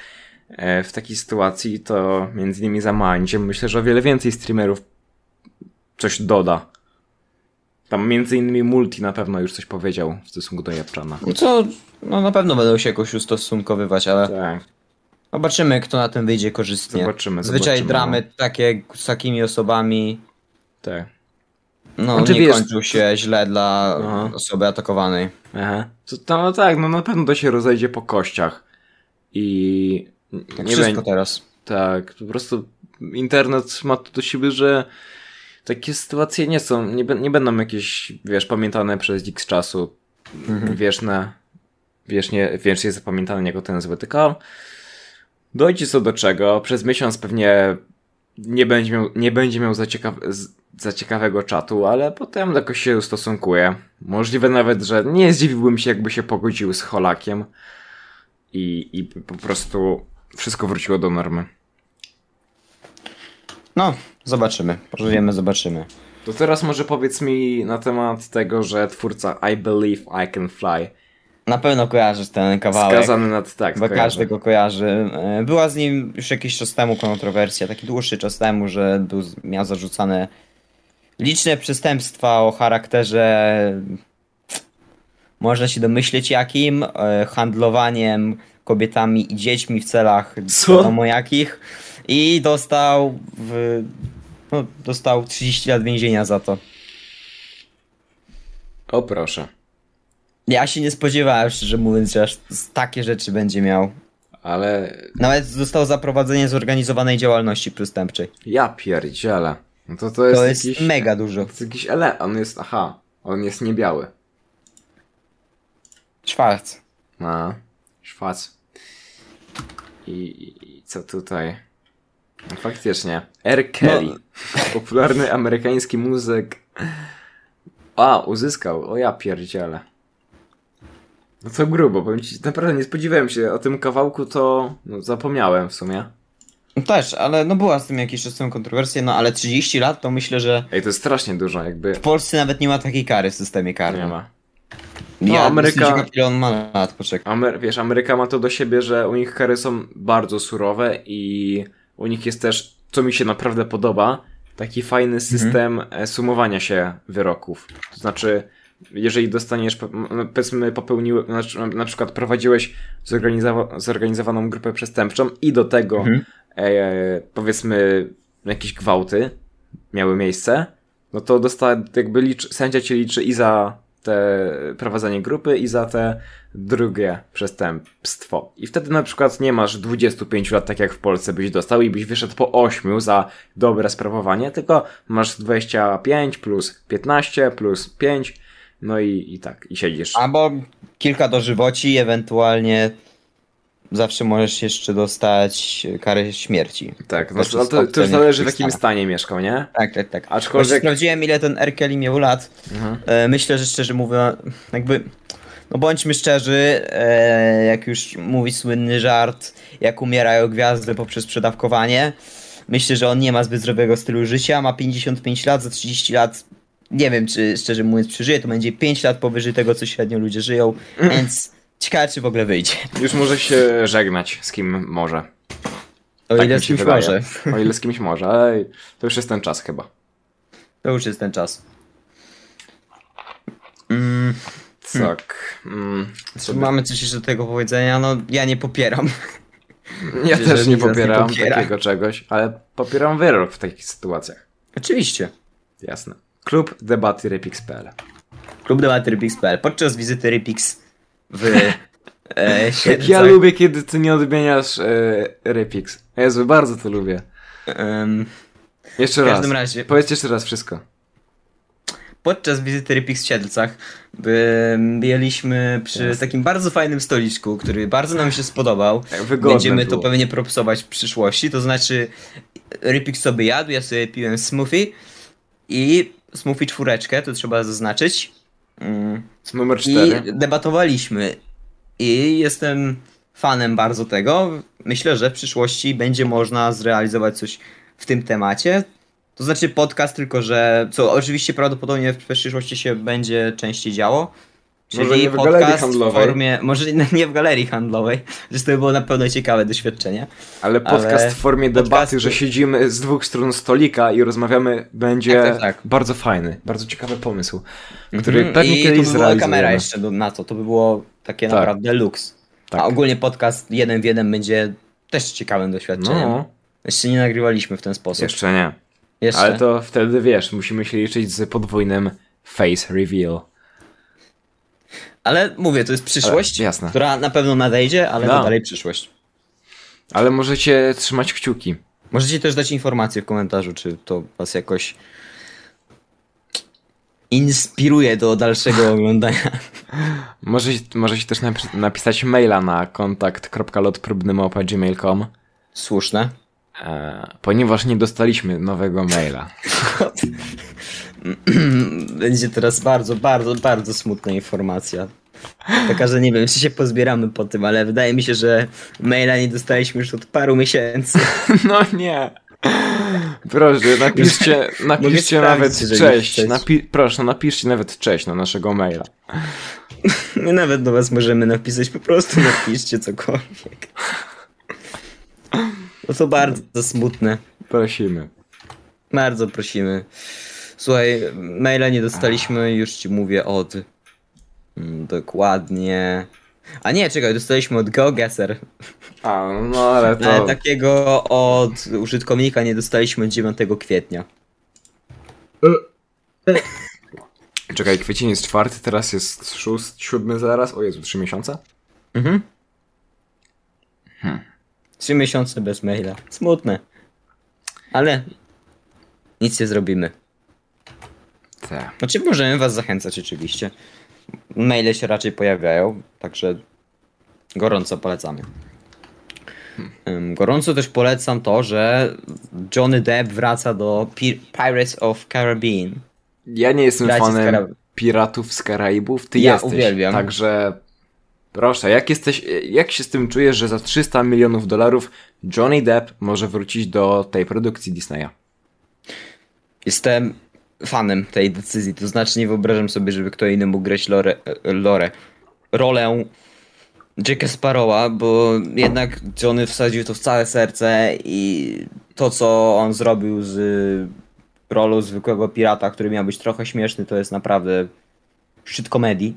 Speaker 2: E, w takiej sytuacji, to między innymi za Mandziem myślę, że o wiele więcej streamerów coś doda. Tam między innymi Multi na pewno już coś powiedział w stosunku do Japczana.
Speaker 1: No Co, no na pewno będą się jakoś ustosunkowywać, ale
Speaker 2: Tak.
Speaker 1: zobaczymy, kto na tym wyjdzie korzystnie.
Speaker 2: Zobaczymy,
Speaker 1: Zwyczaj
Speaker 2: zobaczymy, no.
Speaker 1: dramy takie z takimi osobami,
Speaker 2: Tak.
Speaker 1: no
Speaker 2: Znaczy,
Speaker 1: nie
Speaker 2: wiesz,
Speaker 1: kończą się źle dla
Speaker 2: Aha.
Speaker 1: osoby atakowanej.
Speaker 2: Aha. To, to, no tak, no na pewno to się rozejdzie po kościach. I
Speaker 1: Tak
Speaker 2: nie
Speaker 1: wszystko
Speaker 2: będzie,
Speaker 1: teraz.
Speaker 2: Tak, po prostu internet ma to do siebie, że takie sytuacje nie są, nie, bę- nie będą jakieś, wiesz, pamiętane przez x czasu,
Speaker 1: Mhm.
Speaker 2: Mhm. wieczne, wiecznie, wiecznie zapamiętane jako ten zły, tylko dojdzie co do czego, przez miesiąc pewnie nie będzie miał, nie będzie miał za, ciekaw, z- za ciekawego czatu, ale potem jakoś się ustosunkuje. Możliwe nawet, że nie zdziwiłbym się, jakby się pogodził z Holakiem i, i po prostu wszystko wróciło do normy.
Speaker 1: No, zobaczymy. Pożyjemy, zobaczymy.
Speaker 2: To teraz może powiedz mi na temat tego, że twórca I Believe I Can Fly
Speaker 1: Na pewno kojarzysz ten kawałek.
Speaker 2: skazany nad tak.
Speaker 1: Chyba
Speaker 2: kojarzę.
Speaker 1: każdy go kojarzy. E, Była z nim już jakiś czas temu kontrowersja, taki dłuższy czas temu, że był, miał zarzucane liczne przestępstwa o charakterze, można się domyśleć jakim, e, handlowaniem kobietami i dziećmi w celach
Speaker 2: Co?
Speaker 1: wiadomo jakich, i dostał w, no, dostał 30 lat więzienia za to.
Speaker 2: O proszę.
Speaker 1: Ja się nie spodziewałem, szczerze mówiąc, że aż z- takie rzeczy będzie miał.
Speaker 2: Ale
Speaker 1: Nawet został za prowadzenie zorganizowanej działalności przestępczej.
Speaker 2: ja pierdzielę. No to, to jest,
Speaker 1: To jest
Speaker 2: jakiś...
Speaker 1: mega dużo.
Speaker 2: To jest jakiś ele... On jest... Aha. On jest niebiały.
Speaker 1: Schwarz.
Speaker 2: A. Szwac. I, i- i co tutaj? No, faktycznie. R. Kelly. Popularny amerykański muzyk. A, uzyskał. O ja pierdzielę. No to grubo, powiem ci, naprawdę nie spodziewałem się o tym kawałku, to no, zapomniałem w sumie.
Speaker 1: No Też, ale no była z tym jakiś czas temu kontrowersja, no ale 30 lat to myślę, że
Speaker 2: Ej, to jest strasznie dużo, jakby
Speaker 1: w Polsce nawet nie ma takiej kary w systemie karnym.
Speaker 2: nie ma.
Speaker 1: No,
Speaker 2: No,
Speaker 1: ja
Speaker 2: Ameryka-
Speaker 1: Ameryka... ciekaw, ile on ma lat, poczekaj.
Speaker 2: Amer- wiesz, Ameryka ma to do siebie, że u nich kary są bardzo surowe i u nich jest też, co mi się naprawdę podoba, taki fajny system e, sumowania się wyroków. To znaczy, jeżeli dostaniesz, po- m- no, powiedzmy, popełniłeś, na przykład prowadziłeś zorganizowa- zorganizowaną grupę przestępczą i do tego,
Speaker 1: Mhm.
Speaker 2: e, powiedzmy, jakieś gwałty miały miejsce, no to dosta, jakby liczy, sędzia ci liczy i za te prowadzenie grupy, i za te drugie przestępstwo. I wtedy na przykład nie masz 25 lat, tak jak w Polsce byś dostał i byś wyszedł po 8 za dobre sprawowanie, tylko masz 25 plus 15 plus 5, no i, i tak, i siedzisz.
Speaker 1: Albo kilka dożywoci, ewentualnie zawsze możesz jeszcze dostać karę śmierci.
Speaker 2: tak, no,
Speaker 1: też
Speaker 2: no, to, to już
Speaker 1: sprawdzenie
Speaker 2: zależy w
Speaker 1: w
Speaker 2: jakim
Speaker 1: Stanach.
Speaker 2: stanie mieszkał, nie?
Speaker 1: Tak, tak, tak.
Speaker 2: Aczkolwiek-
Speaker 1: Właśnie sprawdziłem ile ten Erkeli miał lat.
Speaker 2: Mhm.
Speaker 1: E, myślę, że szczerze mówiąc, jakby... No bądźmy szczerzy, e, jak już mówi słynny żart, jak umierają gwiazdy poprzez przedawkowanie. Myślę, że on nie ma zbyt zdrowego stylu życia, ma 55 lat, za 30 lat nie wiem, czy szczerze mówiąc przeżyje, to będzie 5 lat powyżej tego, co średnio ludzie żyją,
Speaker 2: Mm.
Speaker 1: więc ciekawe, czy w ogóle wyjdzie.
Speaker 2: Już może się żegnać z kim może.
Speaker 1: O
Speaker 2: Tak
Speaker 1: ile
Speaker 2: mi
Speaker 1: z
Speaker 2: się
Speaker 1: kimś
Speaker 2: wydaje.
Speaker 1: może.
Speaker 2: O ile z kimś może, ale to już jest ten czas chyba.
Speaker 1: To już jest ten czas. Mm,
Speaker 2: Tak. Mm,
Speaker 1: czy
Speaker 2: sobie-
Speaker 1: mamy coś jeszcze do tego powiedzenia? No, ja nie popieram.
Speaker 2: ja
Speaker 1: Jeżeli nikt
Speaker 2: też nie
Speaker 1: nas nie
Speaker 2: popieram
Speaker 1: popiera.
Speaker 2: takiego czegoś, ale popieram wyrok w takich sytuacjach.
Speaker 1: Oczywiście.
Speaker 2: Jasne. Klub debaty Repix.pl.
Speaker 1: Klub debaty Rypix.pl. Podczas wizyty Rypix w e,
Speaker 2: Jak
Speaker 1: Siedlcach.
Speaker 2: ja lubię, kiedy ty nie odmieniasz e, Repix. Jezu, bardzo to lubię.
Speaker 1: em,
Speaker 2: Jeszcze
Speaker 1: W
Speaker 2: raz.
Speaker 1: każdym razie.
Speaker 2: Powiedz jeszcze raz wszystko.
Speaker 1: podczas wizyty Rypix w Siedlcach em, byliśmy przy
Speaker 2: Jasne.
Speaker 1: takim bardzo fajnym stoliczku, który bardzo nam się spodobał.
Speaker 2: Tak, Wygodne
Speaker 1: Będziemy
Speaker 2: było.
Speaker 1: to pewnie propsować w przyszłości, to znaczy Rypik sobie jadł, ja sobie piłem smoothie i smoothie czwóreczkę, to trzeba zaznaczyć. Mm.
Speaker 2: Numer
Speaker 1: I
Speaker 2: 4.
Speaker 1: debatowaliśmy i jestem fanem bardzo tego. Myślę, że w przyszłości będzie można zrealizować coś w tym temacie. To znaczy podcast, tylko że co oczywiście prawdopodobnie w przyszłości się będzie częściej działo. Czyli
Speaker 2: Może nie w
Speaker 1: podcast
Speaker 2: galerii handlowej.
Speaker 1: w formie, może nie w galerii handlowej, że to by było na pewno ciekawe doświadczenie.
Speaker 2: Ale podcast
Speaker 1: ale
Speaker 2: w formie debaty,
Speaker 1: podcast-
Speaker 2: że siedzimy z dwóch stron stolika i rozmawiamy, będzie
Speaker 1: Tak, tak, tak.
Speaker 2: bardzo fajny, bardzo ciekawy pomysł, który
Speaker 1: Mhm,
Speaker 2: pewnie
Speaker 1: I
Speaker 2: kiedyś
Speaker 1: to by była
Speaker 2: zrealizujemy.
Speaker 1: kamera jeszcze do, na to, to by było takie
Speaker 2: Tak.
Speaker 1: naprawdę luks.
Speaker 2: Tak.
Speaker 1: A ogólnie podcast jeden w jeden będzie też ciekawym doświadczeniem.
Speaker 2: No,
Speaker 1: Jeszcze nie nagrywaliśmy w ten sposób.
Speaker 2: jeszcze nie.
Speaker 1: Jeszcze.
Speaker 2: Ale to wtedy wiesz, musimy się liczyć z podwójnym face reveal.
Speaker 1: Ale mówię, to jest przyszłość,
Speaker 2: Ale- jasne.
Speaker 1: która na pewno nadejdzie, ale
Speaker 2: No.
Speaker 1: no. dalej przyszłość.
Speaker 2: Ale możecie trzymać kciuki.
Speaker 1: Możecie też dać informację w komentarzu, czy to was jakoś inspiruje do dalszego oglądania.
Speaker 2: Możecie, możecie też napi- napisać maila na kontakt.lotprobnymopa.gmail.com
Speaker 1: Słuszne.
Speaker 2: e, ponieważ nie dostaliśmy nowego maila.
Speaker 1: Będzie teraz bardzo, bardzo, bardzo smutna informacja. Taka, że nie wiem, czy się pozbieramy po tym, ale wydaje mi się, że maila nie dostaliśmy już od paru miesięcy.
Speaker 2: No nie. Proszę, napiszcie, napiszcie
Speaker 1: sprawdzić,
Speaker 2: nawet
Speaker 1: jeżeli
Speaker 2: cześć.
Speaker 1: chcecie.
Speaker 2: Napi- proszę, napiszcie nawet cześć na naszego maila.
Speaker 1: My nawet do was możemy napisać, po prostu napiszcie cokolwiek. No to bardzo smutne.
Speaker 2: Prosimy.
Speaker 1: Bardzo prosimy. Słuchaj, maila nie dostaliśmy, już ci mówię od mm, dokładnie A nie, czekaj, dostaliśmy od GeoGuessr.
Speaker 2: A, no ale to...
Speaker 1: Ale tak takiego od użytkownika nie dostaliśmy 9 kwietnia.
Speaker 2: Czekaj, kwiecień jest czwarty, teraz jest szósty, siódmy zaraz. O Jezu, trzy miesiące?
Speaker 1: Mhm. Hmm. Trzy miesiące bez maila. Smutne. Ale nic nie zrobimy.
Speaker 2: Te.
Speaker 1: Znaczy możemy was zachęcać oczywiście. Maile się raczej pojawiają, także gorąco polecamy. Ym, Gorąco też polecam to, że Johnny Depp wraca do Pir- Pirates of Caribbean.
Speaker 2: Ja nie jestem
Speaker 1: Piraci z
Speaker 2: fanem
Speaker 1: Karaibów.
Speaker 2: Piratów z Karaibów, ty
Speaker 1: Ja
Speaker 2: jesteś.
Speaker 1: uwielbiam.
Speaker 2: Także proszę, jak jesteś, jak się z tym czujesz, że za 300 milionów dolarów Johnny Depp może wrócić do tej produkcji Disneya?
Speaker 1: Jestem fanem tej decyzji, to znaczy nie wyobrażam sobie, żeby kto inny mógł grać lore, lore, rolę Jacka Sparrowa, bo jednak Johnny wsadził to w całe serce i to, co on zrobił z y, rolą zwykłego pirata, który miał być trochę śmieszny, to jest naprawdę szczyt komedii,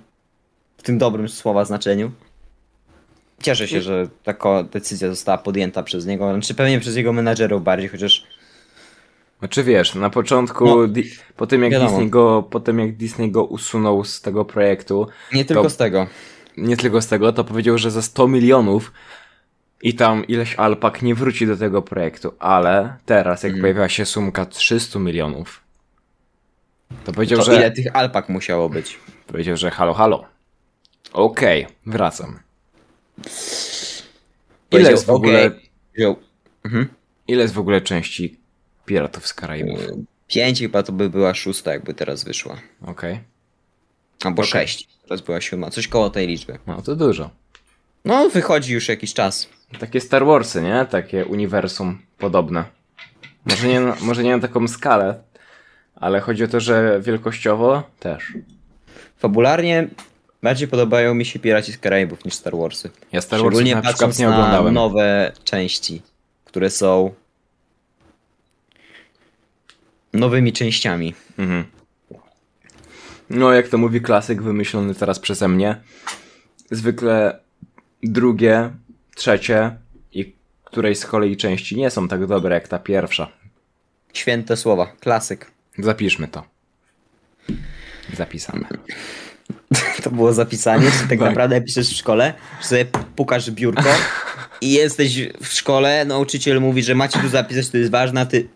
Speaker 1: w tym dobrym słowa znaczeniu. Cieszę się, że taka decyzja została podjęta przez niego, znaczy pewnie przez jego menadżerów bardziej, chociaż
Speaker 2: Znaczy wiesz, na początku,
Speaker 1: No,
Speaker 2: di- po, tym jak
Speaker 1: wiadomo.
Speaker 2: Disney go, po tym jak Disney go usunął z tego projektu,
Speaker 1: nie tylko
Speaker 2: To-
Speaker 1: z tego.
Speaker 2: nie tylko z tego, to powiedział, że za 100 milionów i tam ileś alpak nie wróci do tego projektu, ale teraz
Speaker 1: Mhm.
Speaker 2: jak pojawiła się sumka 300 milionów, to powiedział,
Speaker 1: To
Speaker 2: że
Speaker 1: ile tych alpak musiało być?
Speaker 2: Powiedział, że halo, halo. Okej, wracam. Ile
Speaker 1: Powiedział,
Speaker 2: jest, w ogóle, Mhm.
Speaker 1: okej. Wziął
Speaker 2: ile jest w ogóle części Piratów z Karaibów?
Speaker 1: Mm. e, pięć, chyba to by była szósta, jakby teraz wyszła.
Speaker 2: Okej,
Speaker 1: Albo sześć, teraz była siódma, coś koło tej liczby.
Speaker 2: no to dużo.
Speaker 1: No, wychodzi już jakiś czas.
Speaker 2: Takie Star Warsy, nie? Takie uniwersum podobne. Może nie, na- może nie na taką skalę, ale chodzi o to, że wielkościowo też.
Speaker 1: Fabularnie bardziej podobają mi się Piraci z Karaibów niż Star Warsy.
Speaker 2: Ja Star Warsów
Speaker 1: Szczególnie
Speaker 2: na przykład
Speaker 1: patrząc
Speaker 2: nie
Speaker 1: na
Speaker 2: oglądałem.
Speaker 1: nowe części, które są nowymi częściami.
Speaker 2: Mhm. No, jak to mówi klasyk wymyślony teraz przeze mnie. Zwykle drugie, trzecie i której z kolei części nie są tak dobre jak ta pierwsza.
Speaker 1: Święte słowa, klasyk.
Speaker 2: Zapiszmy to. Zapisane.
Speaker 1: To było zapisanie, czy tak
Speaker 2: Tak.
Speaker 1: naprawdę piszesz w szkole, że sobie pukasz w biurko i jesteś w szkole, nauczyciel mówi, że macie tu zapisać, to jest ważne, a ty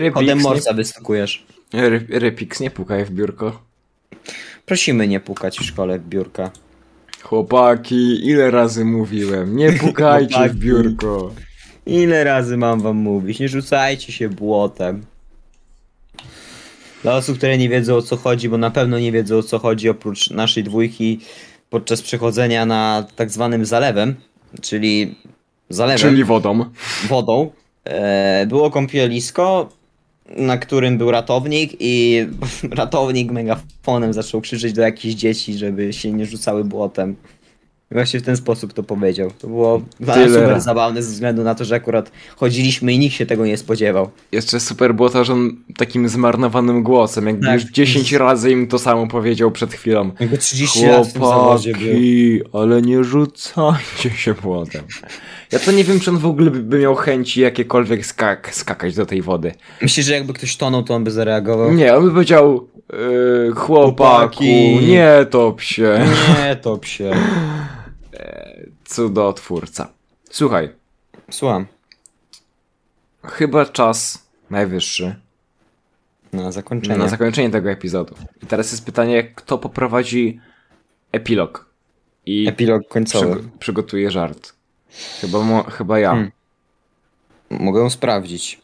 Speaker 2: Yy,
Speaker 1: kodem
Speaker 2: Rypix,
Speaker 1: morsa wystukujesz.
Speaker 2: nie, ry, rypix, nie pukaj w biurko.
Speaker 1: Prosimy nie pukać w szkole w biurka.
Speaker 2: Chłopaki, ile razy mówiłem, nie pukajcie w
Speaker 1: Chłopaki.
Speaker 2: biurko.
Speaker 1: Ile razy mam wam mówić, nie rzucajcie się błotem. Dla osób, które nie wiedzą o co chodzi, bo na pewno nie wiedzą o co chodzi oprócz naszej dwójki podczas przechodzenia na tak zwanym zalewem, czyli zalewem.
Speaker 2: Czyli wodą.
Speaker 1: wodą. E, Było kąpielisko, na którym był ratownik i ratownik megafonem zaczął krzyczeć do jakichś dzieci, żeby się nie rzucały błotem. I Właśnie w ten sposób to powiedział. To było dla nas
Speaker 2: Tyle.
Speaker 1: super zabawne ze względu na to, że akurat chodziliśmy i nikt się tego nie spodziewał.
Speaker 2: Jeszcze super było to, że on takim zmarnowanym głosem, jakby
Speaker 1: Tak.
Speaker 2: już 10 razy im to samo powiedział przed chwilą.
Speaker 1: Jakby 30 lat w tym zawodzie był.
Speaker 2: Chłopaki, ale nie rzucajcie się błotem. Ja to nie wiem, czy on w ogóle by- by miał chęci jakiekolwiek skak skakać do tej wody.
Speaker 1: Myślę, że jakby ktoś tonął, to on by zareagował.
Speaker 2: Nie, on by powiedział, yy, chłopaku,
Speaker 1: Chłopaki.
Speaker 2: nie top się.
Speaker 1: Nie, to psie.
Speaker 2: Cudotwórca. Słuchaj,
Speaker 1: Słucham.
Speaker 2: chyba czas najwyższy
Speaker 1: Na zakończenie.
Speaker 2: na zakończenie tego epizodu. I teraz jest pytanie, kto poprowadzi epilog? I
Speaker 1: Epilog końcowy.
Speaker 2: przygo- przygotuje żart. Chyba, mo- chyba ja.
Speaker 1: Hmm. Mogę sprawdzić.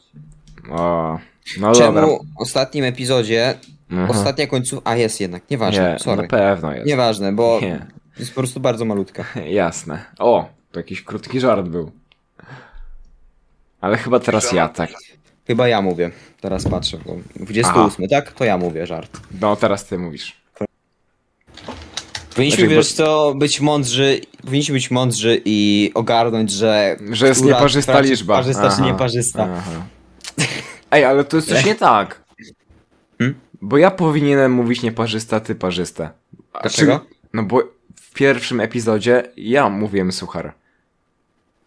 Speaker 2: O, no
Speaker 1: Czemu
Speaker 2: dobra.
Speaker 1: w ostatnim epizodzie
Speaker 2: Aha.
Speaker 1: Ostatnia końcówka. A jest jednak, nieważne.
Speaker 2: nie,
Speaker 1: sorry.
Speaker 2: na pewno jest.
Speaker 1: Nieważne, bo
Speaker 2: Nie,
Speaker 1: jest po prostu bardzo malutka.
Speaker 2: jasne. O, to jakiś krótki żart był. Ale chyba teraz ja, tak.
Speaker 1: Chyba ja mówię. Teraz patrzę. Bo 28, tak? To ja mówię żart.
Speaker 2: No, teraz ty mówisz.
Speaker 1: Powinniśmy
Speaker 2: Znaczy, bo-
Speaker 1: wiesz co, być mądrzy, powinniśmy być mądrzy i ogarnąć, że...
Speaker 2: Że jest
Speaker 1: która-
Speaker 2: nieparzysta
Speaker 1: która czy
Speaker 2: liczba.
Speaker 1: Parzysta czy
Speaker 2: Aha,
Speaker 1: nieparzysta.
Speaker 2: aha. Ej, ale to jest coś
Speaker 1: Ej.
Speaker 2: nie tak.
Speaker 1: Hmm?
Speaker 2: Bo ja powinienem mówić nieparzysta, ty parzyste.
Speaker 1: Dlaczego?
Speaker 2: No bo w pierwszym epizodzie ja mówiłem suchar.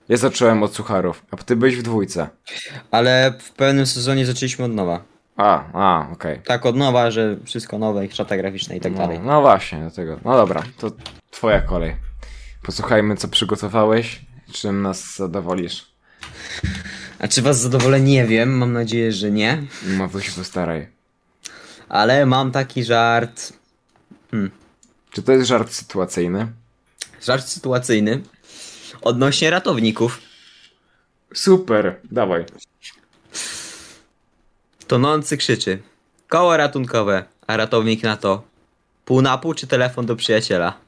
Speaker 2: Ja zacząłem od sucharów, a ty byłeś w dwójce.
Speaker 1: Ale w pewnym sezonie zaczęliśmy od nowa.
Speaker 2: A, a, okej.
Speaker 1: Tak od nowa, że wszystko nowe, i szata graficzna i tak dalej.
Speaker 2: No, no właśnie, dlatego. No dobra, to twoja kolej. Posłuchajmy, co przygotowałeś, czym nas zadowolisz.
Speaker 1: A czy was zadowolę? Nie wiem, mam nadzieję, że nie.
Speaker 2: No to się postaraj.
Speaker 1: Ale mam taki żart.
Speaker 2: Czy to jest żart sytuacyjny?
Speaker 1: Żart sytuacyjny. Odnośnie ratowników.
Speaker 2: Super, dawaj.
Speaker 1: Tonący krzyczy. Koło ratunkowe. A ratownik na to. Pół na pół czy telefon do przyjaciela?